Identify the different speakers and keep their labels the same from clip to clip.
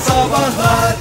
Speaker 1: Sabahlar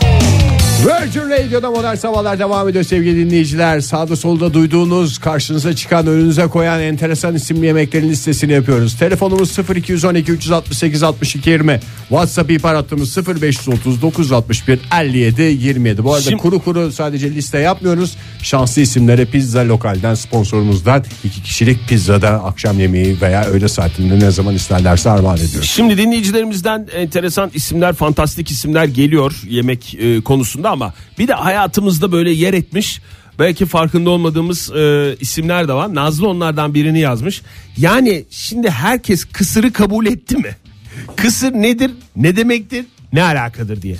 Speaker 2: Virgin Radio'da modern sabahlar devam ediyor sevgili dinleyiciler. Sağda solda duyduğunuz, karşınıza çıkan, önünüze koyan enteresan isimli yemeklerin listesini yapıyoruz. Telefonumuz 0212 368 62 20. WhatsApp ihbar hattımız 0530 961 57 27. Bu arada
Speaker 3: Şimdi-
Speaker 2: kuru kuru sadece liste yapmıyoruz. Şanslı isimlere pizza lokalden sponsorumuzdan iki kişilik pizzada akşam yemeği veya öğle saatinde ne zaman isterlerse armağan ediyoruz.
Speaker 3: Şimdi dinleyicilerimizden enteresan isimler, fantastik isimler geliyor yemek e, konusunda ama bir de hayatımızda böyle yer etmiş belki farkında olmadığımız e, isimler de var. Nazlı onlardan birini yazmış. Yani şimdi herkes kısırı kabul etti mi? Kısır nedir? Ne demektir? Ne alakadır diye.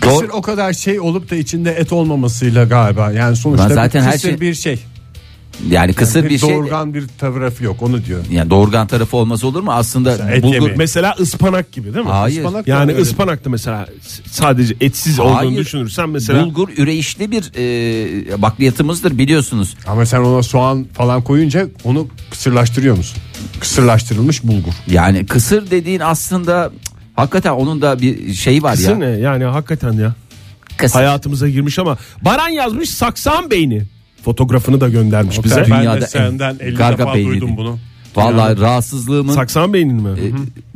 Speaker 2: Kısır o kadar şey olup da içinde et olmamasıyla galiba. Yani sonuçta
Speaker 4: Lan
Speaker 2: bir
Speaker 4: zaten her
Speaker 2: kısır
Speaker 4: şey-
Speaker 2: bir şey.
Speaker 4: Yani kısır
Speaker 2: bir,
Speaker 4: bir şey.
Speaker 2: doğurgan bir tarafı yok onu diyor.
Speaker 4: Yani doğurgan tarafı olmaz olur mu? Aslında
Speaker 2: et
Speaker 4: bulgur
Speaker 2: yemeği.
Speaker 3: Mesela ıspanak gibi değil mi?
Speaker 4: Hayır.
Speaker 2: Ispanak da
Speaker 3: Yani
Speaker 2: öyle.
Speaker 3: ıspanak da mesela s- sadece etsiz
Speaker 4: Hayır.
Speaker 3: olduğunu düşünürsen mesela
Speaker 4: bulgur üreyişli bir e, bakliyatımızdır biliyorsunuz.
Speaker 2: Ama sen ona soğan falan koyunca onu kısırlaştırıyor musun? Kısırlaştırılmış bulgur.
Speaker 4: Yani kısır dediğin aslında cık, hakikaten onun da bir şeyi var
Speaker 3: kısır
Speaker 4: ya.
Speaker 3: ne? Yani hakikaten ya.
Speaker 4: Kısır.
Speaker 3: hayatımıza girmiş ama Baran yazmış saksan beyni. Fotoğrafını da göndermiş bize.
Speaker 4: Ben de dünyada en-
Speaker 2: senden 50
Speaker 4: karga
Speaker 2: defa
Speaker 4: beyni
Speaker 2: duydum
Speaker 4: dedi.
Speaker 2: bunu.
Speaker 4: Vallahi rahatsızlığımın
Speaker 3: Saksan beynin mi?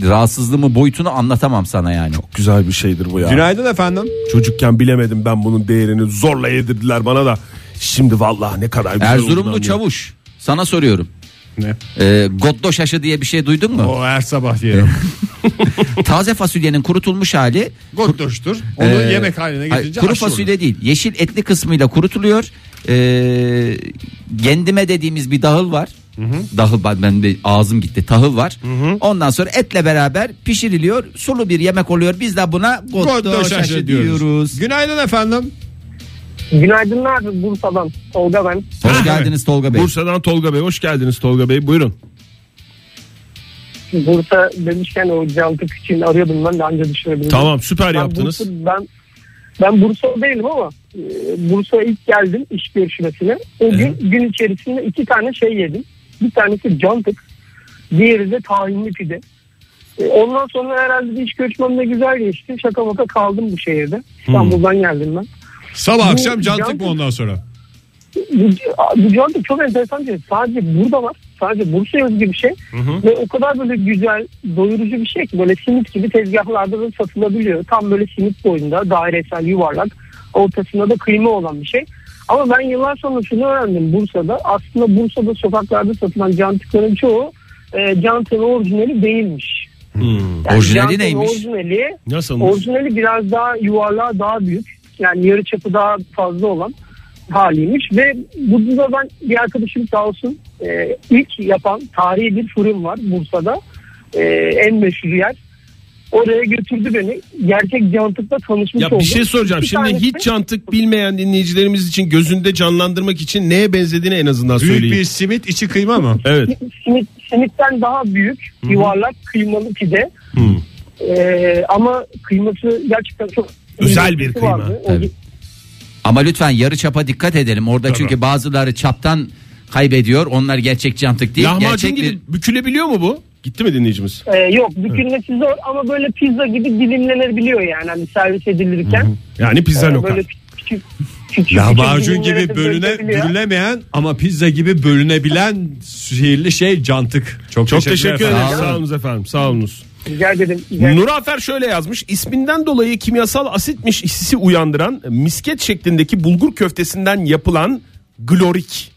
Speaker 4: e, rahatsızlığımın boyutunu anlatamam sana yani.
Speaker 3: Güzel bir şeydir bu ya.
Speaker 2: Günaydın efendim.
Speaker 3: Çocukken bilemedim ben bunun değerini zorla yedirdiler bana da. Şimdi vallahi ne kadar güzel
Speaker 4: Erzurumlu
Speaker 3: oldu
Speaker 4: çavuş sana soruyorum.
Speaker 2: Ne?
Speaker 4: E, goddo şaşı diye bir şey duydun mu?
Speaker 2: O her sabah yerim.
Speaker 4: Taze fasulyenin kurutulmuş hali
Speaker 2: Gottuştur. Onu
Speaker 4: Ee,
Speaker 2: yemek haline
Speaker 4: hayır,
Speaker 2: getirince
Speaker 4: kuru
Speaker 2: aşı olur.
Speaker 4: fasulye değil. Yeşil etli kısmıyla kurutuluyor. Ee, kendime dediğimiz bir dahıl var. Dahıl ben- ben de ağzım gitti. Tahıl var. Ondan sonra etle beraber pişiriliyor. Sulu bir yemek oluyor. Biz de buna gotto
Speaker 2: Gottoş
Speaker 4: şaşı
Speaker 2: aşı
Speaker 4: diyoruz.
Speaker 2: diyoruz. Günaydın efendim.
Speaker 5: Günaydınlar Bursa'dan. Tolga ben.
Speaker 4: Hoş geldiniz Tolga Bey.
Speaker 3: Bursa'dan Tolga Bey hoş geldiniz Tolga Bey buyurun.
Speaker 5: Bursa demişken o Celtic için arıyordum ben de anca düşürebildim.
Speaker 3: Tamam süper
Speaker 5: ben
Speaker 3: yaptınız.
Speaker 5: Bursa, ben, ben Bursa değilim ama e, Bursa'ya ilk geldim iş görüşmesine. O gün gün içerisinde iki tane şey yedim. Bir tanesi Celtic. Diğeri de tahinli pide. E, Ondan sonra herhalde bir iş görüşmem de güzel geçti. Şaka maka kaldım bu
Speaker 3: Hmm.
Speaker 5: şehirde. İstanbul'dan geldim ben.
Speaker 2: Sabah
Speaker 5: Bu
Speaker 2: akşam cantık
Speaker 5: cantık-
Speaker 2: mı ondan sonra?
Speaker 5: Bu- Bu Celtic çok enteresan bir şey. Sadece burada var. Sadece Bursa'ya özgü bir şey. Ve o kadar böyle güzel, doyurucu bir şey ki böyle simit gibi tezgahlarda da satılabiliyor. Tam böyle simit boyunda dairesel yuvarlak ortasında da kıyma olan bir şey. Ama ben yıllar sonra şunu öğrendim Bursa'da. Aslında Bursa'da sokaklarda satılan cantıkların çoğu e, cantın orijinali değilmiş.
Speaker 3: Hmm.
Speaker 4: Orijinali
Speaker 5: cantın
Speaker 4: neymiş?
Speaker 5: Orijinali,
Speaker 3: Nasılsınız?
Speaker 5: orijinali biraz daha yuvarlağı daha büyük. Yani yarı çapı daha fazla olan haliymiş ve burada da ben bir arkadaşım sağ olsun e, ilk yapan tarihi bir fırın var Bursa'da E, en meşhur yer. Oraya götürdü beni. Gerçek cantıkla tanışmış
Speaker 3: Ya
Speaker 5: oldum.
Speaker 3: bir şey soracağım.
Speaker 5: İki
Speaker 3: Şimdi
Speaker 5: tanesi-
Speaker 3: hiç çantık bilmeyen dinleyicilerimiz için gözünde canlandırmak için neye benzediğini en azından
Speaker 2: Büyük
Speaker 3: söyleyin.
Speaker 2: bir simit içi kıyma mı?
Speaker 3: Evet.
Speaker 5: simit, simitten daha büyük yuvarlak kıymalı pide. E, ama kıyması gerçekten çok
Speaker 3: Özel bir kıyma.
Speaker 5: vardı. O-
Speaker 4: Tabii. Ama lütfen yarı çapa dikkat edelim. Orada çünkü bazıları çaptan kaybediyor. Onlar gerçek cantık değil.
Speaker 3: Lahmacun
Speaker 4: gerçek bir-
Speaker 3: gibi bükülebiliyor mu bu? Gitti mi dinleyicimiz?
Speaker 5: Ee, yok bükülmesi zor ama böyle pizza gibi dilimlenebiliyor yani hani servis edilirken.
Speaker 3: Yani pizza
Speaker 5: Ee,
Speaker 3: lokal.
Speaker 5: Böyle küçük küçük
Speaker 2: Lahmacun
Speaker 5: küçük dilimlere
Speaker 2: gibi
Speaker 5: de
Speaker 2: bölüne,
Speaker 5: bölünebiliyor.
Speaker 2: bölünemeyen ama pizza gibi bölünebilen sihirli şey cantık. Çok,
Speaker 3: Çok teşekkür
Speaker 2: efendim.
Speaker 3: ederim.
Speaker 4: efendim.
Speaker 3: Sağ olunuz efendim. Sağ olunuz.
Speaker 5: Rica ederim. rica ederim.
Speaker 3: Nurafer şöyle yazmış. İsminden dolayı kimyasal asitmiş hissi uyandıran misket şeklindeki bulgur köftesinden yapılan glorik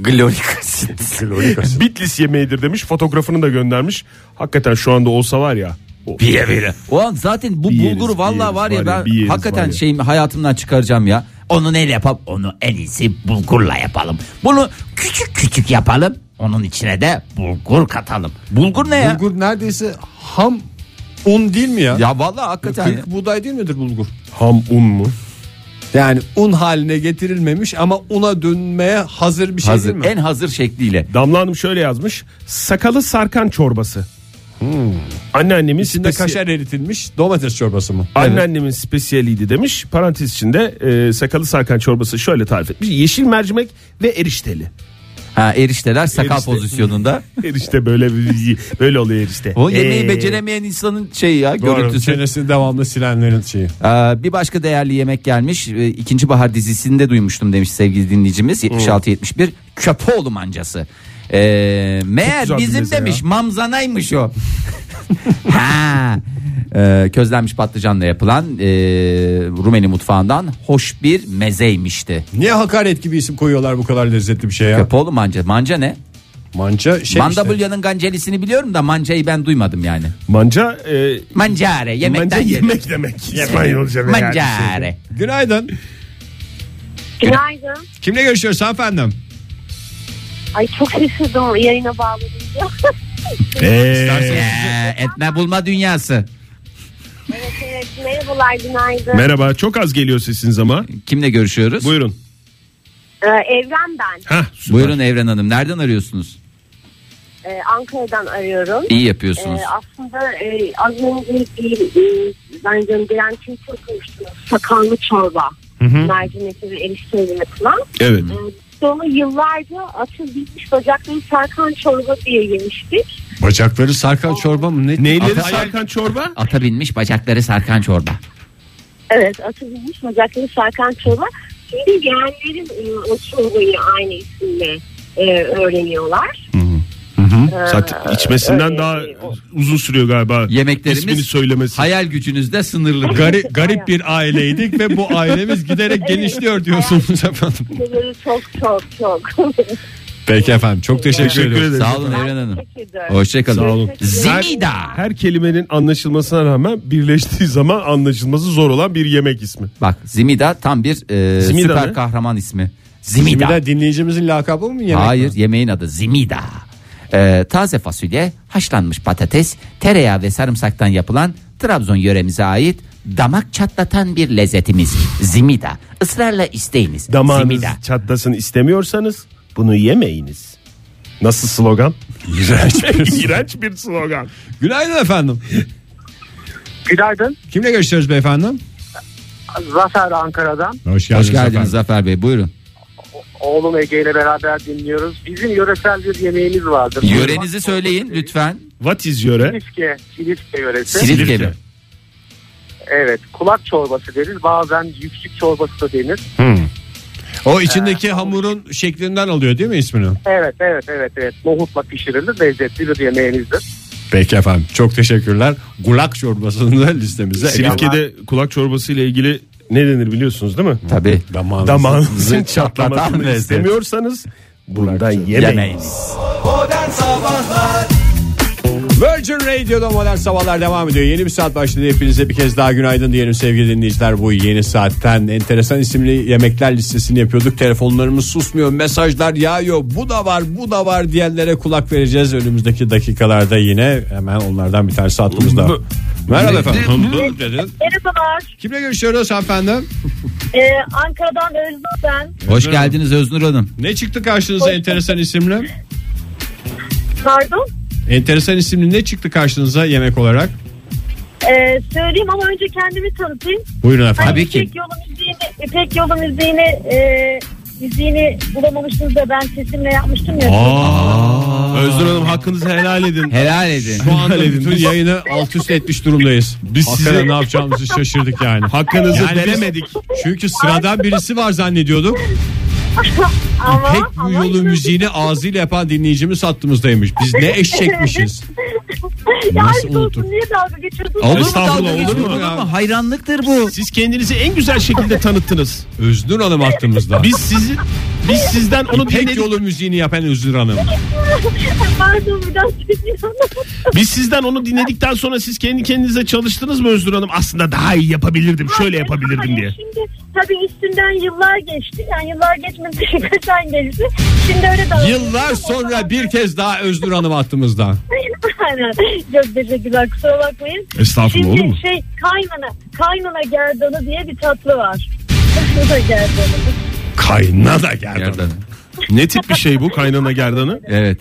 Speaker 4: Glorik asit.
Speaker 2: Klorik asit.
Speaker 3: Bitlis yemeğidir demiş. Fotoğrafını da göndermiş. Hakikaten şu anda olsa var ya. o-
Speaker 4: O an zaten bu
Speaker 3: Bir yeriz,
Speaker 4: bulguru
Speaker 3: bir
Speaker 4: vallahi
Speaker 3: yeriz
Speaker 4: var ya
Speaker 3: var ya,
Speaker 4: ben
Speaker 3: bir yeriz var
Speaker 4: hakikaten
Speaker 3: ya.
Speaker 4: şeyimi hayatımdan çıkaracağım ya. Onu neyle yapalım? Onu en iyisi bulgurla yapalım. Bunu küçük küçük yapalım. Onun içine de bulgur katalım. Bulgur ne ya?
Speaker 2: Bulgur neredeyse ham un değil mi ya?
Speaker 4: Ya vallahi hakikaten.
Speaker 2: Kırk buğday değil midir bulgur?
Speaker 3: Ham un mu?
Speaker 2: Yani un haline getirilmemiş ama una dönmeye hazır bir şey
Speaker 4: hazır,
Speaker 2: değil mi?
Speaker 4: en hazır şekliyle.
Speaker 3: Damla Hanım şöyle yazmış. Sakalı sarkan çorbası. Anneannemin
Speaker 2: İçinde
Speaker 3: spesi-
Speaker 2: kaşar eritilmiş domates çorbası mı?
Speaker 3: Anneannemin spesiyeliydi demiş. Parantez içinde e, sakalı sarkan çorbası şöyle tarif etmiş. Yeşil mercimek ve erişteli.
Speaker 4: Ha, erişteler sakal
Speaker 3: Erişte.
Speaker 4: pozisyonunda.
Speaker 3: Erişte böyle bir- böyle oluyor erişte.
Speaker 4: O yemeği
Speaker 3: Ee,
Speaker 4: beceremeyen insanın şeyi ya
Speaker 2: Doğru.
Speaker 4: görüntüsü.
Speaker 2: Çenesini devamlı silenlerin şeyi.
Speaker 4: Ee, bir başka değerli yemek gelmiş. Ee, İkinci Bahar dizisinde duymuştum demiş sevgili dinleyicimiz. 76-71 Köpoğlu mancası. Ee, meğer
Speaker 2: güzel bir
Speaker 4: bizim
Speaker 2: meze
Speaker 4: demiş mamzanaymış o. ha. Ee, közlenmiş patlıcanla yapılan e, Rumeli mutfağından hoş bir mezeymişti.
Speaker 2: Niye hakaret gibi isim koyuyorlar bu kadar lezzetli bir şeye ya?
Speaker 4: Köpoğlu manca. Manca ne?
Speaker 2: Manca şey işte.
Speaker 4: Mandabulya'nın gancelisini biliyorum da mancayı ben duymadım yani.
Speaker 3: Manca e,
Speaker 4: Mancare yemekten
Speaker 3: manca
Speaker 4: yedim.
Speaker 3: yemek demek. İspanyolca veya bir şey.
Speaker 4: Mancare.
Speaker 2: Günaydın.
Speaker 1: Günaydın.
Speaker 2: Kimle görüşüyoruz efendim?
Speaker 1: Ay çok şaşırdım yayına bağlanınca.
Speaker 3: Ee,
Speaker 4: Ee, etme bulma dünyası.
Speaker 1: evet evet merhabalar günaydın.
Speaker 3: merhaba çok az geliyor sesiniz ama.
Speaker 4: Kimle görüşüyoruz?
Speaker 3: Buyurun.
Speaker 1: Ee, Evren ben.
Speaker 3: Hah, süper.
Speaker 4: Buyurun Evren Hanım. Nereden arıyorsunuz?
Speaker 1: Ee, Ankara'dan arıyorum.
Speaker 4: İyi yapıyorsunuz.
Speaker 1: Ee, aslında e, az önce bir e, ben gönderen kim konuştunuz. Sakallı çorba. Mercimekli ve erişteyle yapılan.
Speaker 3: Evet.
Speaker 1: Ee, biz onu yıllarca atıl bitmiş bacakları sarkan çorba diye yemiştik.
Speaker 2: Bacakları sarkan çorba mı? Ne?
Speaker 3: Neyleri
Speaker 4: Atay-
Speaker 3: sarkan çorba?
Speaker 4: Ata binmiş bacakları sarkan çorba.
Speaker 1: Evet atıl bitmiş bacakları sarkan çorba. Şimdi yeğenlerim e, o çorbayı aynı isimle e, öğreniyorlar.
Speaker 3: Zaten içmesinden
Speaker 1: öyle.
Speaker 3: daha uzun sürüyor galiba.
Speaker 4: Yemeklerimiz-
Speaker 3: İsmini söylemesi.
Speaker 4: Hayal gücünüzde sınırlı.
Speaker 2: Garip, garip bir aileydik ve bu ailemiz giderek genişliyor diyorsunuz efendim.
Speaker 1: Bunları çok çok çok.
Speaker 2: Peki efendim çok teşekkür
Speaker 3: Teşekkür
Speaker 2: ediyoruz.
Speaker 3: ederim.
Speaker 4: Sağ olun Evren Hanım.
Speaker 1: Teşekkür ederim.
Speaker 4: Hoşçakalın.
Speaker 3: şey. Sağ olun.
Speaker 4: Zimida.
Speaker 3: Her kelimenin anlaşılmasına rağmen birleştiği zaman anlaşılması zor olan bir yemek ismi.
Speaker 4: Bak Zimida tam bir e,
Speaker 3: Zimida
Speaker 4: süper
Speaker 3: ne?
Speaker 4: kahraman ismi.
Speaker 2: Şimdi
Speaker 4: Zimida.
Speaker 2: de dinleyicimizin lakabı mı yemek?
Speaker 4: Hayır
Speaker 2: mi?
Speaker 4: yemeğin adı Zimida. Ee, taze fasulye, haşlanmış patates, tereyağı ve sarımsaktan yapılan Trabzon yöremize ait damak çatlatan bir lezzetimiz Zimida. Israrla isteyiniz
Speaker 3: Damağınız
Speaker 4: Zimida.
Speaker 3: çatlasın istemiyorsanız bunu yemeyiniz. Nasıl slogan?
Speaker 2: İğrenç bir-
Speaker 3: İğrenç bir slogan.
Speaker 2: Günaydın efendim.
Speaker 5: Günaydın.
Speaker 2: Kimle görüşüyoruz beyefendi?
Speaker 5: Zafer Ankara'dan.
Speaker 2: Hoş
Speaker 4: Hoş geldiniz Zafer Bey buyurun.
Speaker 5: Oğlum Ege ile beraber dinliyoruz. Bizim yöresel bir yemeğimiz vardır.
Speaker 4: Yörenizi söyleyin lütfen.
Speaker 3: What is yöre?
Speaker 5: Silifke, Silifke yöresi.
Speaker 4: Silifke mi?
Speaker 5: Evet kulak çorbası deriz bazen yüksük çorbası da denir.
Speaker 2: O içindeki hamurun şeklinden alıyor değil mi ismini?
Speaker 5: Evet evet evet evet nohutla pişirilir lezzetli bir yemeğimizdir.
Speaker 2: Peki efendim çok teşekkürler. Gulak çorbasını da listemize
Speaker 3: Silifke'de kulak çorbası ile ilgili ne denir biliyorsunuz değil mi?
Speaker 4: Tabii.
Speaker 2: Damağınızı-
Speaker 3: Damağınızın
Speaker 4: çatlatan
Speaker 3: çatlamasını
Speaker 4: lezzet.
Speaker 3: istemiyorsanız bundan yemeyin.
Speaker 4: Yemeyiz.
Speaker 2: Virgin Radio'da modern sabahlar devam ediyor. Yeni bir saat başladı. Hepinize bir kez daha günaydın diyelim sevgili dinleyiciler. Bu yeni saatten enteresan isimli yemekler listesini yapıyorduk. Telefonlarımız susmuyor. Mesajlar yağıyor. Bu da var bu da var diyenlere kulak vereceğiz. Önümüzdeki dakikalarda yine hemen onlardan bir tanesi attığımızda.
Speaker 3: Bu-
Speaker 2: Merhaba efendim.
Speaker 1: Merhabalar.
Speaker 2: Kimle görüşüyoruz efendim?
Speaker 1: Ee, Ankara'dan Özlem ben.
Speaker 4: Hoş geldiniz Öznur Hanım.
Speaker 2: Ne çıktı karşınıza enteresan isimli?
Speaker 1: Pardon.
Speaker 2: Enteresan isimli ne çıktı karşınıza yemek olarak?
Speaker 1: Ee, söyleyeyim ama önce kendimi tanıtayım.
Speaker 2: Buyurun efendim.
Speaker 1: Hani
Speaker 4: Tabii ki.
Speaker 1: İpek Yol'un müziğini, İpek Yol'un müziğini, e, müziğini bulamamıştınız da ben sesimle yapmıştım ya.
Speaker 3: Özgür Hanım hakkınızı helal edin.
Speaker 4: Helal edin.
Speaker 2: Şu anda
Speaker 3: Helal edin.
Speaker 2: bütün
Speaker 3: Biz-
Speaker 2: yayını alt üst etmiş durumdayız. Biz
Speaker 3: Hakikaten
Speaker 2: size ne yapacağımızı şaşırdık yani.
Speaker 3: Hakkınızı
Speaker 2: Yani biz-
Speaker 3: veremedik.
Speaker 2: Çünkü sıradan birisi var zannediyorduk.
Speaker 1: ama,
Speaker 2: Pek bu
Speaker 1: ama-
Speaker 2: yolun müziğini ağzıyla yapan dinleyicimiz hattımızdaymış. Biz ne eşekmişiz.
Speaker 1: Ya
Speaker 2: Nasıl
Speaker 1: aşk olsun
Speaker 2: unuttun?
Speaker 1: niye dalga geçiyorsunuz?
Speaker 4: Olur mu
Speaker 3: Estağfurullah,
Speaker 4: dalga
Speaker 3: olur
Speaker 4: geçiyor?
Speaker 3: mu
Speaker 4: Olur
Speaker 2: ya?
Speaker 4: mu? Hayranlıktır bu.
Speaker 3: Siz kendinizi en güzel şekilde tanıttınız.
Speaker 2: Öznur Hanım hattımızda.
Speaker 3: Biz sizi biz sizden onu
Speaker 2: Pek
Speaker 3: dinledik.
Speaker 2: yolun müziğini yapan Öznur Hanım.
Speaker 1: Pardon bir daha söylüyorum.
Speaker 3: Biz sizden onu dinledikten sonra siz kendi kendinize çalıştınız mı Özgür Hanım? Aslında daha iyi yapabilirdim, şöyle yapabilirdim
Speaker 1: Hayır,
Speaker 3: diye.
Speaker 1: Şimdi tabii üstünden yıllar geçti. Yani yıllar geçmedi birkaç ay geçti. Şimdi öyle dalga
Speaker 2: Yıllar
Speaker 1: geçiyorum.
Speaker 2: sonra bir kez daha Öznur Hanım hattımızda.
Speaker 1: Aynen. Çok teşekkürler kusura bakmayın.
Speaker 3: Estağfurullah,
Speaker 1: Şimdi
Speaker 3: olur mu?
Speaker 1: şey kaynana, kaynana gerdanı diye bir tatlı var. Kaynana gerdanı.
Speaker 3: Kaynana gerdanı. Ne tip bir şey bu kaynana gerdanı?
Speaker 4: Evet.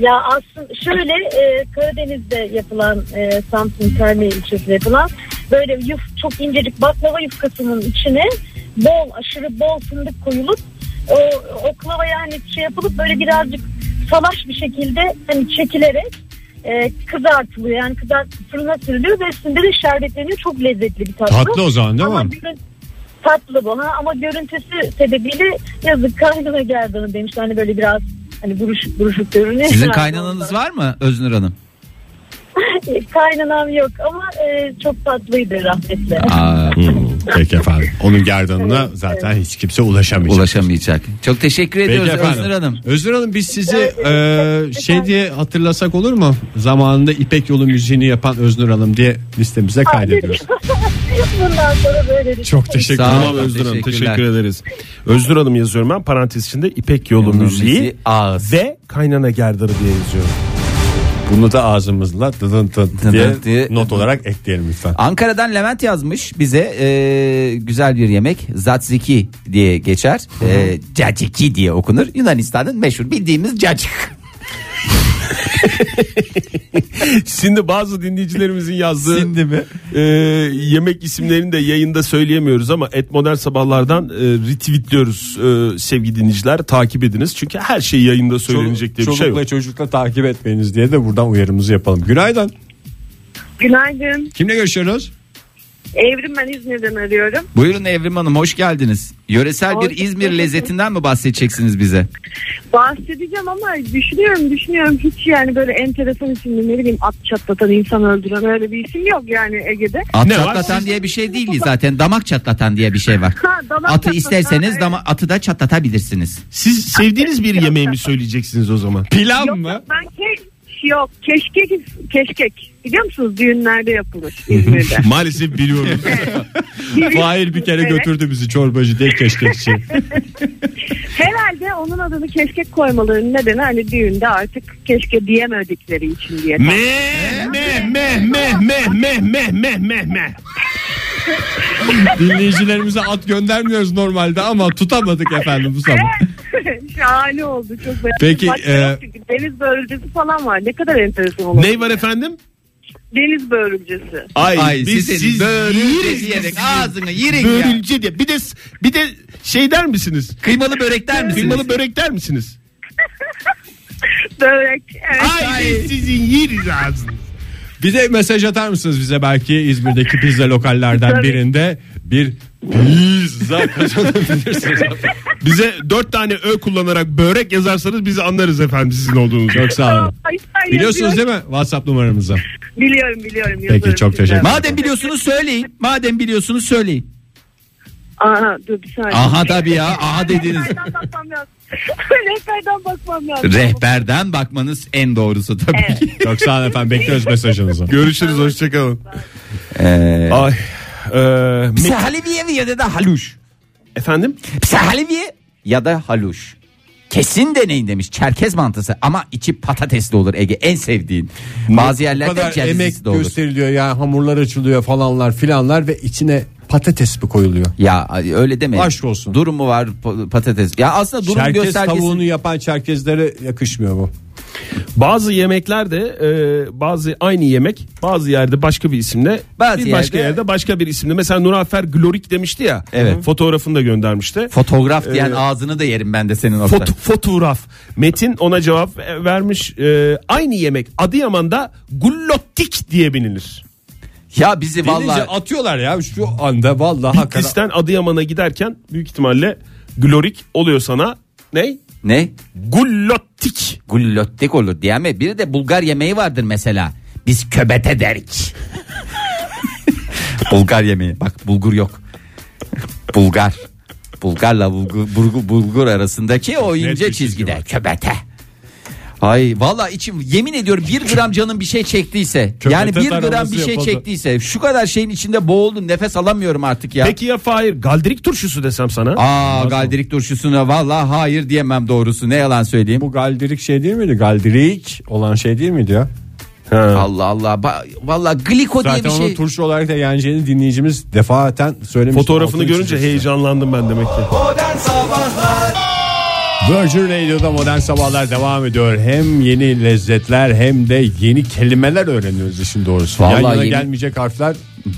Speaker 1: Ya aslında şöyle e, Karadeniz'de yapılan e, Samsun Termiye ilçesinde yapılan böyle yuf, çok incecik baklava yufkasının içine bol aşırı bol fındık koyulup
Speaker 6: o oklava yani şey yapılıp böyle birazcık salaş bir şekilde hani çekilerek e, kızartılıyor. Yani kızart fırına sürülüyor ve üstünde de şerbetleniyor. Çok lezzetli bir tatlı.
Speaker 7: Tatlı o zaman değil
Speaker 6: Ama
Speaker 7: mi?
Speaker 6: görün- tatlı bana ama görüntüsü sebebiyle yazık kaynana gerdanı demişler. Hani böyle biraz hani buruşuk buruşuk görünüyor.
Speaker 4: Sizin kaynananız var mı Öznur Hanım?
Speaker 6: Kaynanam yok ama e, çok tatlıydı rahmetli.
Speaker 4: Aa,
Speaker 7: Hmm, Peki efendim. Onun gerdanına zaten hiç kimse ulaşamayacak.
Speaker 4: ulaşamayacak. Çok teşekkür ediyoruz
Speaker 7: efendim.
Speaker 4: Öznur Hanım.
Speaker 7: Özür Hanım biz sizi
Speaker 2: e,
Speaker 7: eee, şey diye hatırlasak olur mu? Zamanında İpek Yolu müziğini yapan Öznur Hanım diye listemize kaydediyoruz.
Speaker 6: Bundan sonra böyle bir
Speaker 7: Çok teşekkür
Speaker 4: Sağ
Speaker 7: ederim.
Speaker 4: olun,
Speaker 3: Tamam Özgür Hanım
Speaker 4: teşekkürler.
Speaker 3: teşekkür ederiz. Özgür Hanım yazıyorum ben parantez içinde İpek Yolu
Speaker 4: Yolun
Speaker 3: müziği,
Speaker 4: müziği, ağız.
Speaker 3: ve Kaynana Gerdarı diye yazıyorum.
Speaker 7: Bunu da ağzımızla dıdın dıdın diye,
Speaker 4: Dıdın diye-
Speaker 7: not olarak ekleyelim lütfen.
Speaker 4: Ankara'dan Levent yazmış bize e, güzel bir yemek zatziki diye geçer. E, caciki diye okunur. Yunanistan'ın meşhur bildiğimiz cacık.
Speaker 3: Şimdi bazı dinleyicilerimizin yazdığı
Speaker 4: mi?
Speaker 3: e, yemek isimlerini de yayında söyleyemiyoruz ama et modern sabahlardan e, retweetliyoruz e, sevgili dinleyiciler takip ediniz. Çünkü her şey yayında söylenecek diye bir şey yok.
Speaker 2: Çolukla çocukla takip etmeyiniz.
Speaker 7: Biz diye de buradan uyarımızı yapalım. Günaydın.
Speaker 1: Günaydın.
Speaker 7: Kimle görüşüyoruz?
Speaker 1: Evrim ben İzmir'den arıyorum.
Speaker 4: Buyurun Evrim Hanım hoş geldiniz. Yöresel
Speaker 1: Hoş
Speaker 4: bir İzmir
Speaker 1: bulduk.
Speaker 4: lezzetinden mi bahsedeceksiniz bize?
Speaker 1: Bahsedeceğim ama düşünüyorum düşünüyorum hiç yani böyle enteresan isimli ne bileyim at çatlatan insan öldüren öyle bir isim yok yani Ege'de.
Speaker 4: At
Speaker 3: Ne var?
Speaker 4: çatlatan diye bir şey değil zaten damak çatlatan diye bir şey var.
Speaker 1: Ha, damak
Speaker 4: Atı
Speaker 1: çatlatan,
Speaker 4: isterseniz
Speaker 1: evet.
Speaker 4: dama, atı da çatlatabilirsiniz.
Speaker 3: Siz sevdiğiniz bir yemeği mi söyleyeceksiniz o zaman?
Speaker 7: Pilav
Speaker 1: Yok
Speaker 7: mı?
Speaker 1: yok, ben ke yok keşkek keşkek biliyor musunuz düğünlerde yapılır İzmir'de.
Speaker 7: Maalesef biliyorum. Fahir bir kere
Speaker 1: Evet.
Speaker 7: götürdü bizi çorbacı diye keşkeççi.
Speaker 1: Herhalde onun adını keşkek koymalarının nedeni hani düğünde artık keşke diyemedikleri için diye.
Speaker 3: Meh meh meh meh meh meh meh meh meh meh.
Speaker 7: Dinleyicilerimize at göndermiyoruz normalde ama tutamadık efendim bu sabah.
Speaker 1: Şahane oldu çok beğendim.
Speaker 7: Peki,
Speaker 1: Başka
Speaker 7: e-
Speaker 1: yok çünkü deniz börülcesi falan var. Ne kadar enteresan olur.
Speaker 3: Ney var efendim?
Speaker 1: Deniz börülcesi.
Speaker 3: Ay,
Speaker 4: Ay
Speaker 3: biz
Speaker 4: sizin
Speaker 3: siz
Speaker 4: börülce
Speaker 3: yeriz
Speaker 4: diyerek
Speaker 3: biz
Speaker 4: ağzını yirin ya.
Speaker 3: Börülce diye. Bir de bir de şey der misiniz?
Speaker 4: Kıymalı börek der misiniz?
Speaker 3: Kıymalı börek der misiniz?
Speaker 1: Börek. e, Evet.
Speaker 3: Ay biz sizin yeriz ağzını.
Speaker 7: Bir de mesaj atar mısınız bize belki İzmir'deki pizza lokallerden
Speaker 1: Tabii.
Speaker 7: birinde bir pizza kazanabilirsiniz.
Speaker 3: Bize dört tane ö kullanarak börek yazarsanız biz anlarız efendim sizin olduğunuzu.
Speaker 7: Çok sağ olun.
Speaker 1: Ay, ay,
Speaker 7: Biliyorsunuz
Speaker 1: yazıyorum.
Speaker 7: değil mi WhatsApp numaramızı?
Speaker 1: Biliyorum biliyorum. yazarım
Speaker 7: çok
Speaker 1: size.
Speaker 7: teşekkür
Speaker 4: Madem biliyorsunuz söyleyin. Madem biliyorsunuz söyleyin.
Speaker 1: Aha dur bir saniye.
Speaker 4: Aha tabii ya. Aha dediniz.
Speaker 1: Rehberden bakmam lazım. Rehberden bakmam lazım.
Speaker 4: É, Rehberden bakmanız en doğrusu tabii ki.
Speaker 7: Çok sağ olun efendim bekliyoruz mesajınızı.
Speaker 3: Görüşürüz hoşçakalın.
Speaker 4: Ee,
Speaker 3: Ay. e, me-
Speaker 4: Pse haleviye mi ya da haluş?
Speaker 3: efendim?
Speaker 4: Pse haleviye ya da haluş. Kesin deneyin demiş. Çerkez mantısı ama içi patatesli olur Ege. En sevdiğin. Bazı
Speaker 2: Bu
Speaker 4: yerlerde
Speaker 2: kadar
Speaker 4: cevizsiz
Speaker 2: emek
Speaker 4: de olur.
Speaker 2: gösteriliyor yani hamurlar açılıyor falanlar filanlar ve içine patates mi koyuluyor?
Speaker 4: Ya öyle deme.
Speaker 2: Aşk olsun.
Speaker 4: Durumu var pa- patates. Ya aslında durum
Speaker 2: Çerkez
Speaker 4: göstergesi.
Speaker 2: tavuğunu yapan çerkezlere yakışmıyor bu.
Speaker 3: Bazı yemeklerde e, bazı aynı yemek bazı yerde başka bir isimle
Speaker 4: Bazı
Speaker 3: bir başka
Speaker 4: yerde-
Speaker 3: yerde başka bir isimle. Mesela Nur Afer Glorik demişti ya.
Speaker 4: Evet.
Speaker 3: Fotoğrafını da göndermişti.
Speaker 4: Fotoğraf diyen
Speaker 3: Ee,
Speaker 4: ağzını da yerim ben de senin orada.
Speaker 3: Foto- fotoğraf. Metin ona cevap e, vermiş. E, aynı yemek Adıyaman'da gullottik diye bilinir.
Speaker 4: ya bizi
Speaker 2: Deyince
Speaker 4: vallahi
Speaker 2: atıyorlar ya şu anda vallahi hakikaten.
Speaker 3: Bitlis'ten Adıyaman'a giderken büyük ihtimalle glorik oluyor sana. Ne?
Speaker 4: ne?
Speaker 3: Gullottik.
Speaker 4: Gullottik olur diye mi? Bir de Bulgar yemeği vardır mesela. Biz köbete derik. Bulgar yemeği. Bak bulgur yok. Bulgar. Bulgarla bulgur, bulgur, bulgur arasındaki o ince çizgide köbete. Ay valla içim yemin ediyorum bir gram canım bir şey çektiyse yani bir gram bir
Speaker 7: taraması
Speaker 4: şey
Speaker 7: yapıldı.
Speaker 4: çektiyse şu kadar şeyin içinde boğuldum nefes alamıyorum artık ya.
Speaker 3: Peki ya Fahir galdirik turşusu desem sana?
Speaker 4: Aa galdirik turşusuna valla hayır diyemem doğrusu ne yalan söyleyeyim.
Speaker 2: Bu galdirik şey değil miydi? Galdirik olan şey değil miydi ya?
Speaker 4: Allah Allah Ba- valla gliko
Speaker 2: Zaten
Speaker 4: diye bir
Speaker 2: onun
Speaker 4: şey.
Speaker 2: turşu olarak da yeneceğini dinleyicimiz defaten söylemiş.
Speaker 3: Fotoğrafını
Speaker 2: Altını
Speaker 3: görünce
Speaker 2: çizmişti.
Speaker 3: heyecanlandım ben demek ki.
Speaker 7: Virgin Radio'da modern sabahlar devam ediyor. Hem yeni lezzetler hem de yeni kelimeler öğreniyoruz işin doğrusu.
Speaker 4: Vallahi
Speaker 7: Yan yana
Speaker 4: yeni-
Speaker 7: gelmeyecek harfler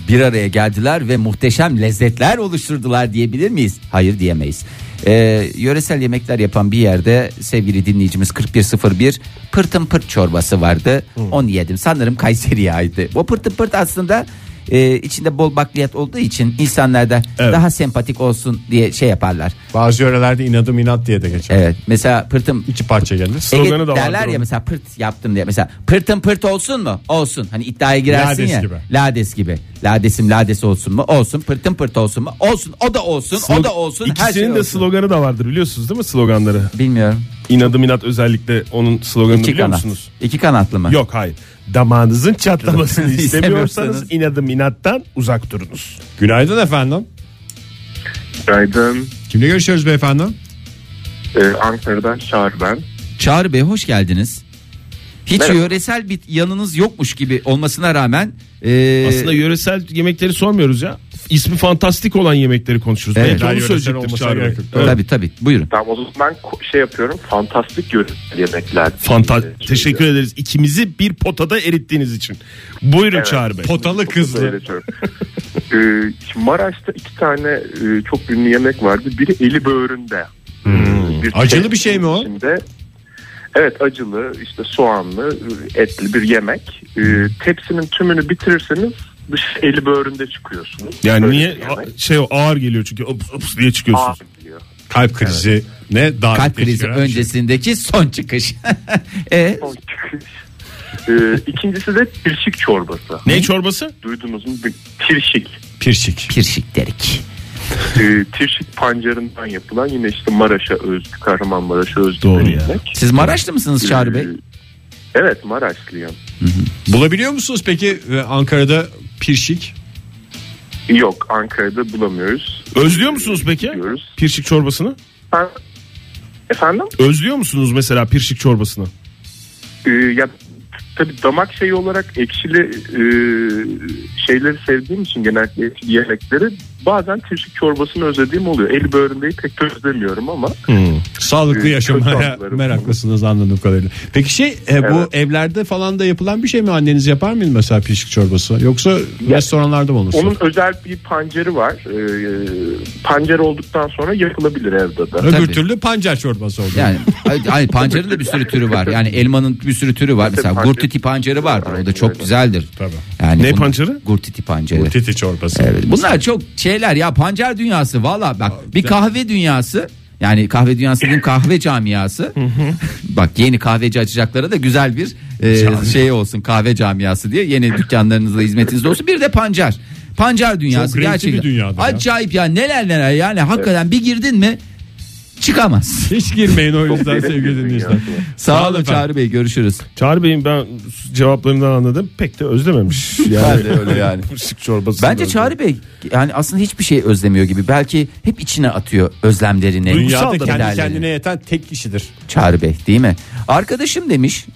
Speaker 4: bir araya geldiler ve muhteşem lezzetler oluşturdular diyebilir miyiz? Hayır diyemeyiz. Ee, yöresel yemekler yapan bir yerde sevgili dinleyicimiz 4101 pırtın pırt çorbası vardı. Onu yedim. Sanırım Kayseri'ye aitti. O pırtın pırt aslında e, içinde bol bakliyat olduğu için insanlar da daha sempatik olsun diye şey yaparlar.
Speaker 7: Bazı yörelerde inadım inat diye de geçer.
Speaker 4: Evet. Mesela pırtın
Speaker 7: İki parça gelir.
Speaker 4: Ege
Speaker 3: Sloganı da vardır
Speaker 4: derler
Speaker 3: onun.
Speaker 4: ya mesela pırt yaptım diye. Mesela pırtın pırt olsun mu? Olsun. Hani iddiaya girersin
Speaker 7: Lades
Speaker 4: ya.
Speaker 7: gibi.
Speaker 4: Lades gibi. Ladesim lades olsun mu? Olsun. Pırtın pırt olsun mu? Olsun. O da olsun. o da olsun. Her şey
Speaker 3: İkisinin de
Speaker 4: olsun.
Speaker 3: sloganı da vardır biliyorsunuz değil mi sloganları?
Speaker 4: Bilmiyorum.
Speaker 3: İnadım inat özellikle onun sloganını
Speaker 4: İki
Speaker 3: biliyor
Speaker 4: kanat.
Speaker 3: musunuz?
Speaker 4: İki kanatlı mı?
Speaker 3: Yok hayır. Damağınızın çatlamasını istemiyorsanız
Speaker 4: İstemiyorsanız.
Speaker 3: inadım inattan uzak durunuz.
Speaker 7: Günaydın efendim.
Speaker 8: Günaydın.
Speaker 7: Kimle görüşüyoruz beyefendi?
Speaker 8: Ee, Ankara'dan Çağrı ben.
Speaker 4: Çağrı Bey hoş geldiniz. Hiç
Speaker 8: Merhaba.
Speaker 4: yöresel bir yanınız yokmuş gibi olmasına rağmen e,
Speaker 3: Aslında yöresel yemekleri sormuyoruz ya. İsmi fantastik olan yemekleri konuşuyoruz.
Speaker 4: Evet.
Speaker 3: Belki onu
Speaker 7: Yöresel
Speaker 3: söyleyecektir
Speaker 7: olmasına
Speaker 3: Çağrı Bey.
Speaker 7: gerek yok.
Speaker 3: Evet.
Speaker 4: tabii tabii buyurun.
Speaker 8: Tamam o zaman ben ko- şey yapıyorum. Fantastik görüntülü yemekler. Ee,
Speaker 3: Fanta- teşekkür ederiz. İkimizi bir potada erittiğiniz için. Buyurun Çağrı Bey.
Speaker 7: Potalı kızlı.
Speaker 8: ee, şimdi Maraş'ta iki tane e, çok ünlü yemek vardı. Biri eli böğründe. Bir
Speaker 7: Acılı
Speaker 8: tek
Speaker 7: bir şey mi o?
Speaker 8: içinde- Evet acılı işte soğanlı etli bir yemek. Ee, tepsinin tümünü bitirirseniz dış eli böğründe çıkıyorsunuz.
Speaker 3: Yani
Speaker 8: Böyle
Speaker 3: niye
Speaker 8: bir yemek.
Speaker 3: a- şey ağır geliyor çünkü ops ops diye çıkıyorsunuz.
Speaker 8: Ağır diyor.
Speaker 7: Kalp krizi ne davet
Speaker 4: Kalp krizi
Speaker 7: geçiren şey.
Speaker 4: öncesindeki son çıkış. e,
Speaker 8: Son çıkış. Ee, ikincisi de pirşik çorbası.
Speaker 3: Ne çorbası?
Speaker 8: Duydunuz mu? Bir Tirşik.
Speaker 7: Pirşik.
Speaker 4: pirşik derik.
Speaker 8: Ee, tirşik pancarından yapılan yine işte Maraş'a özgü, Kahramanmaraş'a özgü
Speaker 3: Doğru
Speaker 8: bir
Speaker 3: ya.
Speaker 8: yemek.
Speaker 4: Siz Maraşlı mısınız Çağrı Bey?
Speaker 8: Ee, Evet Maraşlıyım.
Speaker 7: Bulabiliyor musunuz peki e, Ankara'da pirşik?
Speaker 8: Yok Ankara'da bulamıyoruz.
Speaker 3: Özlüyor musunuz peki?
Speaker 8: Diyoruz.
Speaker 3: Pirşik çorbasını.
Speaker 8: Ben, efendim?
Speaker 3: Özlüyor musunuz mesela pirşik çorbasını?
Speaker 8: Ee, ya tabii damak şeyi olarak ekşili e, şeyleri sevdiğim için genellikle ekşili yemekleri bazen tirşik çorbasını özlediğim oluyor. El böğründeyi pek de özlemiyorum ama
Speaker 3: Hmm.
Speaker 7: Sağlıklı
Speaker 4: Ee,
Speaker 8: Kötü
Speaker 7: yaşamaya
Speaker 8: tatlıları.
Speaker 7: meraklısınız anladığım kadarıyla. Peki şey e,
Speaker 8: Evet.
Speaker 7: bu evlerde falan da yapılan bir şey mi? Anneniz yapar mıydı mesela pirşik çorbası? Yoksa restoranlarda mı olur?
Speaker 8: onun özel bir pancarı var. Ee, pancar olduktan sonra yapılabilir evde de.
Speaker 7: Öbür
Speaker 4: Tabii.
Speaker 7: türlü pancar çorbası olur.
Speaker 4: Yani hayır pancarın da bir sürü türü var. Yani elmanın bir sürü türü var. Mesela gurtiti pancarı vardır. O da çok güzeldir.
Speaker 7: Tabii.
Speaker 4: Yani
Speaker 3: Ne
Speaker 4: bunun-
Speaker 3: pancarı?
Speaker 4: Gurtiti pancarı.
Speaker 7: Titi çorbası.
Speaker 4: Evet. Bunlar çok şeyler ya pancar dünyası valla bak bir kahve dünyası yani kahve dünyası dediğim kahve camiası. bak yeni kahveci açacaklara da güzel bir e, şey olsun kahve camiası diye yeni dükkanlarınızda hizmetinizde olsun. Bir de pancar. Pancar dünyası
Speaker 7: renkli bir
Speaker 4: gerçekten.
Speaker 7: dünyadır ya.
Speaker 4: Acayip ya neler neler yani hakikaten bir girdin mi çıkamaz.
Speaker 7: Hiç girmeyin o yüzden sevgili dinleyiciler.
Speaker 4: Sağ olun
Speaker 7: efendim.
Speaker 4: Çağrı Bey görüşürüz.
Speaker 3: Çağrı Bey'in ben cevaplarından anladım. Pek de özlememiş. Yani
Speaker 4: Ben de öyle yani.
Speaker 3: pirşik çorbası.
Speaker 4: Bence Çağrı Bey yani aslında hiçbir şey özlemiyor gibi. Belki hep içine atıyor özlemlerini.
Speaker 7: Dünyada kendi
Speaker 4: ideallerini.
Speaker 7: kendine yeten tek kişidir.
Speaker 4: Çağrı Bey değil mi? Arkadaşım demiş.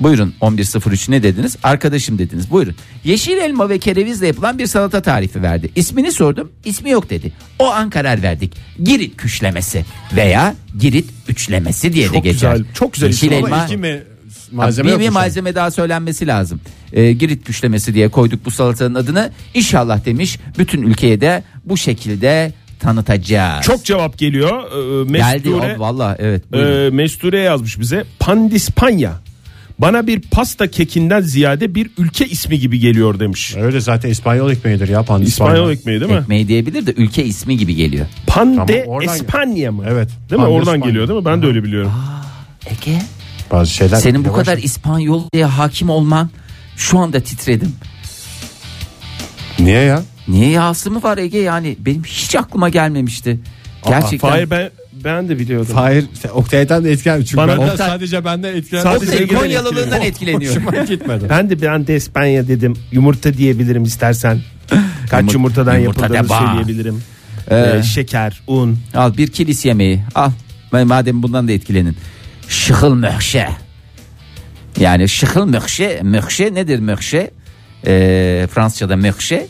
Speaker 4: Buyurun 11.03 ne dediniz? Arkadaşım dediniz. Buyurun. Yeşil elma ve kerevizle yapılan bir salata tarifi verdi. İsmini sordum. İsmi yok dedi. O an karar verdik. Girit küşlemesi veya Girit üçlemesi diye de
Speaker 3: Çok
Speaker 4: geçer.
Speaker 3: güzel, çok güzel
Speaker 4: Yeşil
Speaker 3: isim ama
Speaker 4: elma
Speaker 7: İki mi malzeme
Speaker 4: bir, bir
Speaker 7: yokmuş.
Speaker 4: malzeme daha söylenmesi lazım. Ee, Girit güçlemesi diye koyduk bu salatanın adını. İnşallah demiş bütün ülkeye de bu şekilde tanıtacağız.
Speaker 3: Çok cevap geliyor. Ee,
Speaker 4: geldi
Speaker 3: Mesture,
Speaker 4: o- vallahi evet. buyurun.
Speaker 3: e, Mesture yazmış bize. Pandispanya. Bana bir pasta kekinden ziyade bir ülke ismi gibi geliyor demiş.
Speaker 7: Öyle zaten İspanyol ekmeğidir ya pandispanya.
Speaker 3: İspanyol ekmeği değil mi?
Speaker 4: Ekmeği diyebilir de ülke ismi gibi geliyor.
Speaker 3: Pande
Speaker 7: Tamam, oradan-
Speaker 3: İspanya mı?
Speaker 7: Evet.
Speaker 3: Değil mi? Oradan
Speaker 7: Pandispanya.
Speaker 3: geliyor değil mi? Ben de öyle biliyorum.
Speaker 4: Ege
Speaker 7: Bazı şeyler.
Speaker 4: senin bu
Speaker 7: Yavaş-
Speaker 4: kadar İspanyol diye hakim olman şu anda titredim.
Speaker 7: Niye ya?
Speaker 4: Niye yası mı var Ege yani benim hiç aklıma gelmemişti. Gerçekten.
Speaker 3: Fahir ben ben de biliyordum.
Speaker 7: Hayır Oktay'dan etkilenmiş. Çünkü
Speaker 3: Bana
Speaker 7: benden-
Speaker 3: da-
Speaker 7: sadece benden etkilenmiş.
Speaker 3: Sadece-
Speaker 4: Oktay
Speaker 3: Sevgiden
Speaker 4: Konyalılığından etkileniyor.
Speaker 7: Hoşuma gitmedi.
Speaker 3: Ben de ben de İspanya dedim. Yumurta diyebilirim istersen. Kaç
Speaker 4: Yumur-
Speaker 3: yumurtadan
Speaker 4: yumurta
Speaker 3: yapıldığını
Speaker 4: da bağ.
Speaker 3: söyleyebilirim. Ee, şeker, un.
Speaker 4: Al bir kilis yemeği al. Ma- Madem bundan da etkilenin. Şıhıl möhşe. Yani şıhıl möhşe. Möhşe nedir möhşe? Ee, Fransızca'da möhşe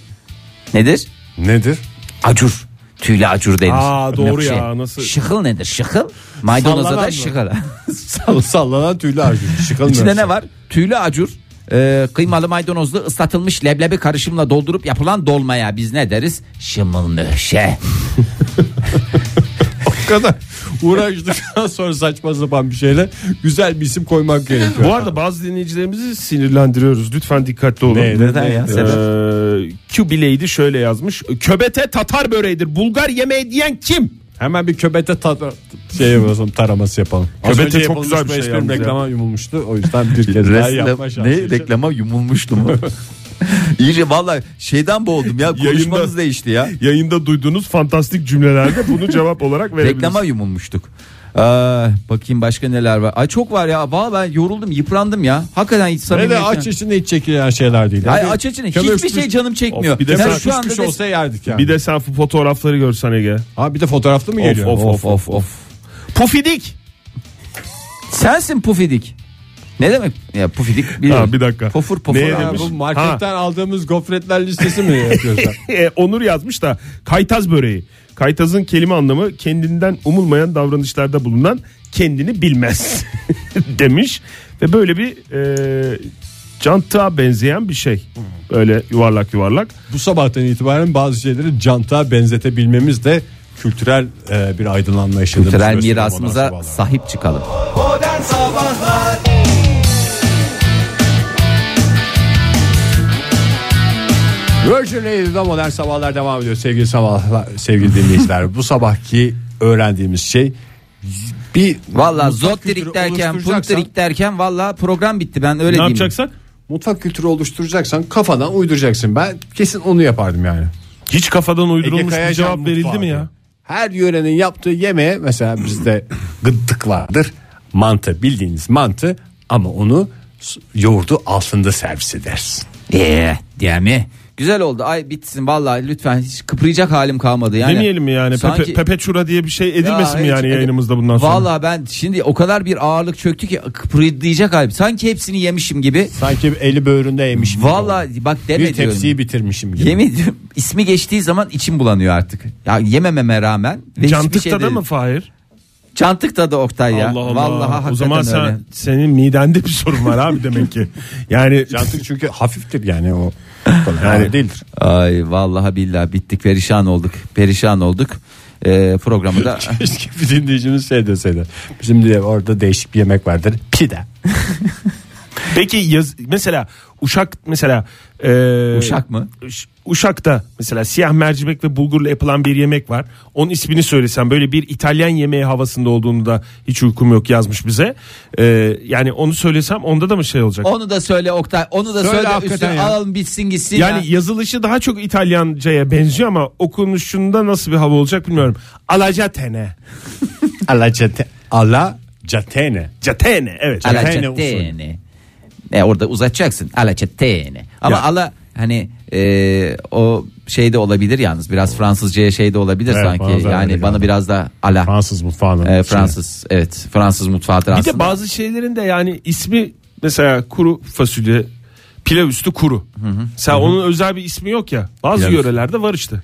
Speaker 4: nedir?
Speaker 7: Nedir?
Speaker 4: Acur. Tüylü acur denir.
Speaker 3: Aa, doğru
Speaker 4: Möhşe.
Speaker 3: ya, nasıl-
Speaker 4: Şıhıl nedir şıhıl? Maydanoza
Speaker 7: Sallanan mı?
Speaker 4: da şıhıl.
Speaker 7: Sall- sallanan tüylü acı.
Speaker 4: İçinde ne var? Tüylü acur. ee, kıymalı maydanozlu ıslatılmış leblebi karışımla doldurup yapılan dolmaya biz ne deriz? Şımıl möhşe.
Speaker 2: bu kadar uğraştıktan sonra saçma sapan bir şeyle güzel bir isim koymak gerekiyor.
Speaker 3: Bu arada bazı dinleyicilerimizi sinirlendiriyoruz. Lütfen dikkatli olun.
Speaker 2: Ne, neden ya?
Speaker 3: Ee, Q Bileydi şöyle yazmış. Köbete Tatar böreğidir. Bulgar yemeği diyen kim?
Speaker 2: Hemen bir köbete tat şey yapalım, taraması yapalım. Az
Speaker 3: Köbete
Speaker 2: önce
Speaker 3: çok
Speaker 2: yapılmış
Speaker 3: güzel bir
Speaker 2: bu
Speaker 3: şey
Speaker 2: esprim
Speaker 3: yalnız ya.
Speaker 2: reklama yumulmuştu. O yüzden bir kez daha
Speaker 4: Resle-
Speaker 2: yapma şansı.
Speaker 4: ne reklama yumulmuştu mu? İyice valla şeyden boğuldum ya konuşmanız
Speaker 3: Yayında-
Speaker 4: değişti ya.
Speaker 3: Yayında duyduğunuz fantastik cümlelerde bunu cevap olarak verebilirsiniz.
Speaker 4: Reklama yumulmuştuk. Ee, bakayım başka neler var. Ay çok var ya. Valla ben yoruldum, yıprandım ya. Hakikaten hiç
Speaker 2: Ve de
Speaker 4: samimiyetten.
Speaker 2: aç içinde hiç çekilen şeyler değil.
Speaker 4: Ay
Speaker 2: Yani
Speaker 4: aç açın. Hiçbir
Speaker 2: kömürsüz-
Speaker 4: şey canım çekmiyor.
Speaker 3: Of, bir de
Speaker 4: Ben
Speaker 3: sen
Speaker 4: şu anda
Speaker 2: Kış
Speaker 4: des-
Speaker 2: olsa yerdik yani.
Speaker 3: Bir de sen bu fotoğrafları görsen Ege.
Speaker 2: ha, bir de fotoğraflı mı geliyor?
Speaker 3: of,
Speaker 4: of of of.
Speaker 3: Pufidik.
Speaker 4: Sensin pufidik. Ne demek? Ya pufidik biliyorum.
Speaker 3: Ha, bir dakika.
Speaker 4: Pofur pofur.
Speaker 3: Neye
Speaker 4: abi.
Speaker 2: Ya
Speaker 3: demiş?
Speaker 2: bu marketten aldığımız gofretler listesi mi yapıyorsun?
Speaker 3: E, Onur yazmış da kaytaz böreği. Kaytazın kelime anlamı kendinden umulmayan davranışlarda bulunan kendini bilmez demiş. Ve böyle bir e, cantığa benzeyen bir şey. Öyle yuvarlak yuvarlak.
Speaker 2: bu sabahtan itibaren bazı şeyleri cantığa benzetebilmemiz de kültürel e, bir aydınlanma yaşadığımız
Speaker 4: Kültürel
Speaker 2: gösteriyor modern
Speaker 4: mirasımıza
Speaker 2: sabahlar.
Speaker 4: sahip çıkalım.
Speaker 2: Virgin Radio'da modern sabahlar devam ediyor sevgili sabahlar sevgili dinleyiciler. bu sabahki öğrendiğimiz şey bir
Speaker 4: Valla
Speaker 2: mutfak
Speaker 4: zottirik
Speaker 2: kültürü
Speaker 4: derken,
Speaker 2: oluşturacaksan-
Speaker 4: puntirik derken valla program bitti. Ben öyle
Speaker 3: ne
Speaker 4: diyeyim.
Speaker 3: yapacaksak?
Speaker 2: mutfak kültürü oluşturacaksan kafadan uyduracaksın. Ben kesin onu yapardım yani.
Speaker 3: Hiç kafadan
Speaker 2: Ege
Speaker 3: uydurulmuş bir
Speaker 2: Kayacan
Speaker 3: cevap verildi
Speaker 2: mutfağı
Speaker 3: mi
Speaker 2: diyor.
Speaker 3: ya?
Speaker 2: Her yörenin yaptığı yemeğe mesela bizde gıddık vardır. Mantı bildiğiniz mantı ama onu s- yoğurdu altında servis edersin.
Speaker 4: Eee Ee, diye mi? Güzel oldu. Ay bitsin vallahi lütfen hiç kıpıracak halim kalmadı yani.
Speaker 3: Demeyelim mi yani? Pepe, Pepe Çura diye bir şey edilmesin mi
Speaker 4: Ya,
Speaker 3: yani
Speaker 4: hiç-
Speaker 3: yayınımızda bundan sonra?
Speaker 4: Valla ben şimdi o kadar bir ağırlık çöktü ki kıpırdayacak halim. Sanki hepsini yemişim gibi.
Speaker 2: Sanki eli böğründe yemiş. gibi oldu.
Speaker 4: Vallahi bak deme
Speaker 2: bir
Speaker 4: diyorum.
Speaker 2: tepsiyi bitirmişim gibi.
Speaker 4: Yemin ediyorum ismi geçtiği zaman içim bulanıyor artık. Ya yemememe rağmen. Ve hiçbir şey
Speaker 3: Cantıkta da
Speaker 4: de-
Speaker 3: mı Fahir?
Speaker 4: Cantıkta da Oktay ya.
Speaker 3: Allah Allah.
Speaker 4: Vallahi hakikaten
Speaker 3: o zaman sen
Speaker 4: öyle.
Speaker 3: senin midende bir sorun var abi demek ki. Yani
Speaker 2: Cantık çünkü hafiftir yani o. yani değildir.
Speaker 4: Ay vallahi billahi bittik perişan olduk. Perişan olduk. Ee, programı da
Speaker 2: Keşke bir dinleyicimiz şey deseydi. Bizim diye orada değişik bir yemek vardır. Pide.
Speaker 3: Peki yaz, mesela Uşak mesela e,
Speaker 4: Uşak mı?
Speaker 3: Uş- Uşak'ta mesela siyah mercimek ve bulgurla yapılan bir yemek var. Onun ismini söylesem böyle bir İtalyan yemeği havasında olduğunu da hiç uykum yok yazmış bize. E, yani onu söylesem onda da mı şey olacak?
Speaker 4: onu da söyle Oktay. Onu da
Speaker 2: Söyle
Speaker 4: söyle,
Speaker 2: hakikaten
Speaker 4: üstüne
Speaker 2: ya.
Speaker 4: alalım bitsin gitsin.
Speaker 3: yani
Speaker 4: ya.
Speaker 3: yazılışı daha çok İtalyanca'ya benziyor ama okunuşunda nasıl bir hava olacak bilmiyorum. Alacatene.
Speaker 2: Alacate. Ala catene.
Speaker 3: Catene evet.
Speaker 4: Ala
Speaker 2: Catene
Speaker 4: çetene. E orada uzatacaksın. Ala çetene. Ama
Speaker 2: Ya.
Speaker 4: ala hani e, o şey de olabilir yalnız biraz Fransızcaya şey de olabilir
Speaker 2: Evet, bana
Speaker 4: sanki.
Speaker 2: da öyle
Speaker 4: Yani bana
Speaker 2: geldi.
Speaker 4: biraz da ala
Speaker 2: Fransız mutfağının.
Speaker 4: E, Fransız evet Fransız mutfağı
Speaker 3: Bir
Speaker 4: aslında.
Speaker 3: de bazı şeylerin de yani ismi mesela kuru fasulye pilav üstü kuru. Sen onun özel bir ismi yok ya. Bazı
Speaker 4: Pilav üstü.
Speaker 3: yörelerde var işte.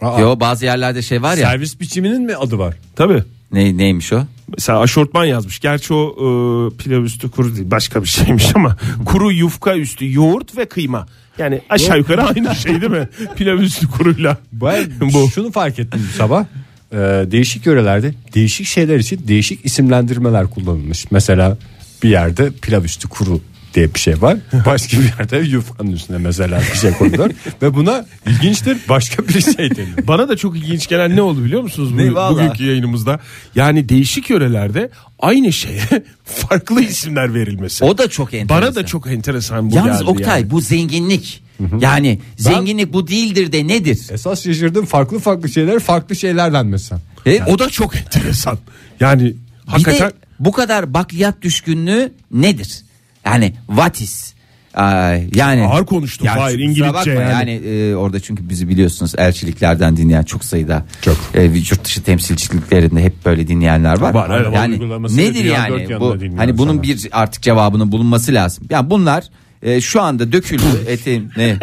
Speaker 2: Aa,
Speaker 4: Yo bazı yerlerde şey var ya.
Speaker 2: Servis biçiminin mi adı var?
Speaker 3: Tabii.
Speaker 4: Ne, neymiş o?
Speaker 3: Mesela aşortman yazmış. Gerçi o e, pilav üstü kuru değil başka bir şeymiş ama kuru yufka üstü yoğurt ve kıyma. Yani aşağı yukarı aynı şey değil mi? pilav üstü kuruyla.
Speaker 2: Ben
Speaker 3: Bu.
Speaker 2: şunu fark ettim bu sabah. Ee, değişik yörelerde değişik şeyler için değişik isimlendirmeler kullanılmış. Mesela bir yerde pilav üstü kuru diye bir şey var. Başka bir yerde yufkanın üstüne mesela bir şey koyulur. Ve buna ilginçtir başka bir şey deniyor.
Speaker 3: Bana da çok ilginç gelen ne oldu biliyor musunuz bu,
Speaker 4: Ne, valla?
Speaker 3: bugünkü yayınımızda? Yani değişik yörelerde aynı şeye farklı isimler verilmesi.
Speaker 4: O da çok enteresan.
Speaker 3: Bana da çok enteresan bu
Speaker 4: Yalnız
Speaker 3: geldi
Speaker 4: Oktay
Speaker 3: yani.
Speaker 4: bu zenginlik. Yani zenginlik bu değildir de nedir?
Speaker 2: Esas şaşırdım farklı farklı şeyler farklı şeylerden mesela.
Speaker 4: Ve E, o-
Speaker 3: O da çok enteresan. Yani
Speaker 4: bir
Speaker 3: hakikaten
Speaker 4: de bu kadar bakliyat düşkünlüğü nedir? Yani what is? Ay, yani
Speaker 3: ağır konuştum.
Speaker 4: Ya
Speaker 3: Hayır
Speaker 4: kusura
Speaker 3: İngilizce
Speaker 4: bakma
Speaker 3: yani.
Speaker 4: e, orada çünkü bizi biliyorsunuz elçiliklerden dinleyen çok sayıda
Speaker 2: Çok.
Speaker 4: E, yurt dışı temsilciliklerinde hep böyle dinleyenler var.
Speaker 2: Var, evet.
Speaker 4: yani
Speaker 2: Uygulamasını
Speaker 4: nedir
Speaker 2: dünyanın
Speaker 4: yani
Speaker 2: dört yanında
Speaker 4: bu
Speaker 2: dinliyoruz
Speaker 4: hani bunun
Speaker 2: sana.
Speaker 4: bir artık cevabının bulunması lazım. Yani bunlar e, şu anda döküldü etin ne?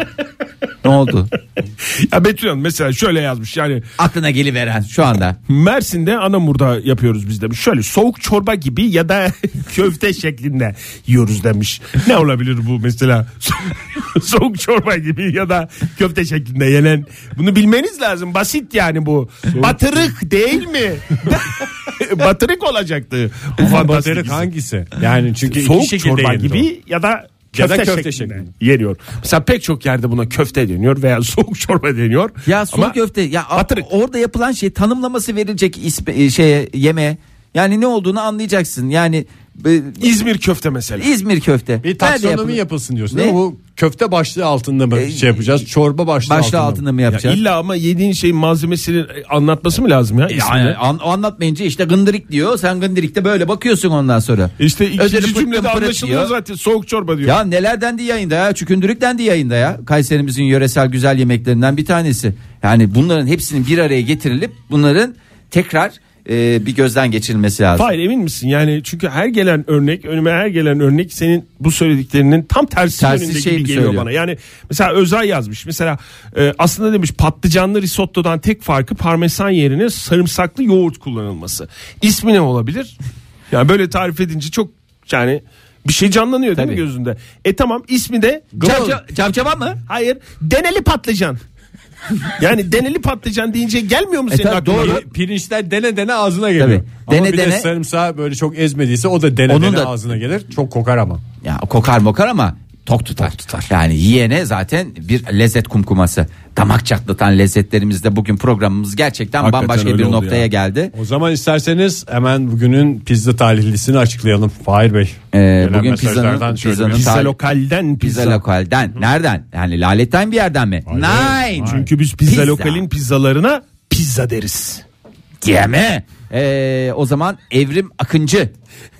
Speaker 4: Ne oldu?
Speaker 3: Ya Betül Hanım mesela şöyle yazmış yani
Speaker 4: Aklına geliveren şu anda.
Speaker 3: Mersin'de anamurda yapıyoruz biz demiş. Şöyle soğuk çorba gibi ya da köfte şeklinde yiyoruz demiş. Ne olabilir bu mesela? soğuk çorba gibi ya da köfte şeklinde yenen. Bunu bilmeniz lazım. Basit yani bu. Batırık değil mi? Batırık olacaktı. Bu fantastik
Speaker 7: Batırık
Speaker 3: isim.
Speaker 7: hangisi? Yani çünkü
Speaker 3: soğuk
Speaker 7: iki şekilde
Speaker 3: çorba
Speaker 7: yenir o.
Speaker 3: gibi ya da
Speaker 7: Ya
Speaker 3: köfte,
Speaker 7: da köfte
Speaker 3: şeklinde
Speaker 7: şeklinde.
Speaker 3: yeniyor. Mesela pek çok yerde buna köfte deniyor veya soğuk çorba deniyor.
Speaker 4: Ya sulu
Speaker 3: Ama
Speaker 4: köfte ya a-
Speaker 3: batırık.
Speaker 4: orada yapılan şey tanımlaması verilecek isme, e, şeye yeme. Yani ne olduğunu anlayacaksın. Yani e,
Speaker 3: İzmir köfte mesela.
Speaker 4: İzmir köfte.
Speaker 2: Bir
Speaker 4: Nerede
Speaker 2: taksonomi
Speaker 4: yapılır?
Speaker 2: yapılsın diyorsun.
Speaker 4: Ne?
Speaker 2: Değil mi? Bu köfte başlığı altında mı
Speaker 4: Ee,
Speaker 2: şey yapacağız? Çorba başlığı,
Speaker 4: Başlığı
Speaker 2: altında,
Speaker 4: altında
Speaker 2: mı?
Speaker 4: mı
Speaker 3: Ya
Speaker 4: yapacağız?
Speaker 3: illa ama yediğin şeyin malzemesini e, anlatması mı lazım ya?
Speaker 4: Ya,
Speaker 3: ismini?
Speaker 4: yani an- anlatmayınca işte gındirik diyor. Sen gındirikte böyle bakıyorsun ondan sonra.
Speaker 3: İşte ikinci
Speaker 4: Ödeli pırt
Speaker 3: cümlede
Speaker 4: pırt pırt
Speaker 3: anlaşılıyor
Speaker 4: diyor.
Speaker 3: zaten soğuk çorba diyor.
Speaker 4: Ya neler dendi yayında ya çükündürük dendi yayında ya Kayserimizin yöresel güzel yemeklerinden bir tanesi Yani bunların hepsinin bir araya getirilip bunların tekrar e, bir gözden geçirilmesi lazım
Speaker 3: Hayır emin misin? Yani çünkü her gelen örnek önüme her gelen örnek senin bu söylediklerinin tam tersi,
Speaker 4: Tersi
Speaker 3: yönünde
Speaker 4: şey
Speaker 3: gibi
Speaker 4: mi
Speaker 3: geliyor
Speaker 4: söylüyor?
Speaker 3: bana. Yani mesela Özay yazmış. Mesela e, aslında demiş patlıcanlı risottodan tek farkı parmesan yerine sarımsaklı yoğurt kullanılması. İsmi ne olabilir? Yani böyle tarif edince çok yani bir şey canlanıyor değil mi
Speaker 4: Tabii.
Speaker 3: gözünde? E tamam ismi de
Speaker 4: Cavca- Cavcava mı?
Speaker 3: Hayır. Deneli patlıcan. yani deneli patlıcan deyince gelmiyor mu senin
Speaker 4: tabii,
Speaker 3: aklına?
Speaker 4: doğru.
Speaker 2: Pi- Pirinçler dene dene ağzına geliyor.
Speaker 4: Tabii.
Speaker 2: Ama
Speaker 4: Dene
Speaker 2: bir de
Speaker 4: dene.
Speaker 2: sarımsağı böyle çok ezmediyse o da dene
Speaker 4: Onun
Speaker 2: dene
Speaker 4: da-
Speaker 2: ağzına gelir. Çok kokar ama.
Speaker 4: Ya kokar mokar ama tok tutar. Yani yiyene zaten bir lezzet kumkuması Damak çatlatan lezzetlerimizde bugün programımız gerçekten
Speaker 3: Hakikaten
Speaker 4: bambaşka
Speaker 3: öyle
Speaker 4: bir
Speaker 3: oldu
Speaker 4: noktaya
Speaker 3: ya.
Speaker 4: geldi
Speaker 2: O zaman isterseniz hemen bugünün pizza talihlisini açıklayalım. Fahir Bey.
Speaker 4: Ee,
Speaker 2: Gelen
Speaker 4: bugün
Speaker 2: mesajlardan
Speaker 4: pizzanın-
Speaker 2: şöyle
Speaker 4: pizzanın
Speaker 2: bir-
Speaker 4: ta-
Speaker 3: Pizza lokalden pizza.
Speaker 4: Pizza lokalden nereden yani laletten bir yerden mi? Nein
Speaker 3: Çünkü biz pizza, lokalin pizzalarına pizza deriz.
Speaker 4: Yeme. Ee, o zaman Evrim Akıncı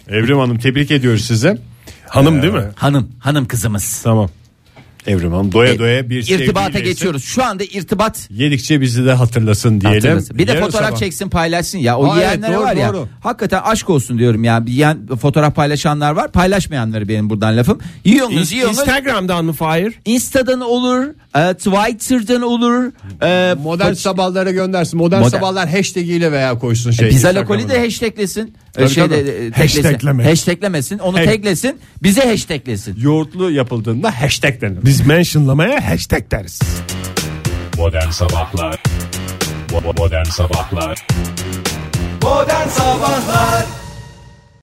Speaker 2: Evrim Hanım tebrik ediyoruz sizi.
Speaker 3: Hanım değil mi?
Speaker 4: hanım hanım kızımız.
Speaker 2: Tamam. Evrim Hanım
Speaker 4: E,
Speaker 2: doya doya bir
Speaker 4: İrtibata
Speaker 2: sevgiyle ise
Speaker 4: geçiyoruz. Şu anda irtibat
Speaker 2: Yedikçe bizi de hatırlasın diyelim.
Speaker 4: hatırlasın. Bir de
Speaker 2: Yarın
Speaker 4: fotoğraf
Speaker 2: sabah-
Speaker 4: çeksin paylaşsın ya. O
Speaker 2: Aa, evet,
Speaker 4: yiyenlere
Speaker 2: doğru,
Speaker 4: var ya.
Speaker 2: doğru.
Speaker 4: Hakikaten aşk olsun diyorum ya. Bir Yiyen fotoğraf paylaşanlar var. Paylaşmayanları benim buradan lafım. Yiyorsunuz yiyorsunuz.
Speaker 3: Instagram'dan mı Fahir?
Speaker 4: Insta'dan olur. e, Twitter'dan olur. E,
Speaker 2: Modern
Speaker 4: po-
Speaker 2: sabahlara göndersin. Ee, Modern,
Speaker 4: Modern-
Speaker 2: sabahlar hashtag ile veya koysun şey.
Speaker 4: Pizza
Speaker 2: Instagram'a.
Speaker 4: Lokoli de hashtaglesin. E,
Speaker 2: Tabii,
Speaker 4: şeyde,
Speaker 2: tabii.
Speaker 4: e, teklesin.
Speaker 3: Hashtagleme.
Speaker 4: Hashtaglemesin. Onu
Speaker 2: Hey.
Speaker 4: teklesin. Bize hashtaglesin.
Speaker 2: Yoğurtlu yapıldığında hashtag denir.
Speaker 3: Biz mentionlamaya hashtag deriz.
Speaker 9: Modern Sabahlar Bo- Modern Sabahlar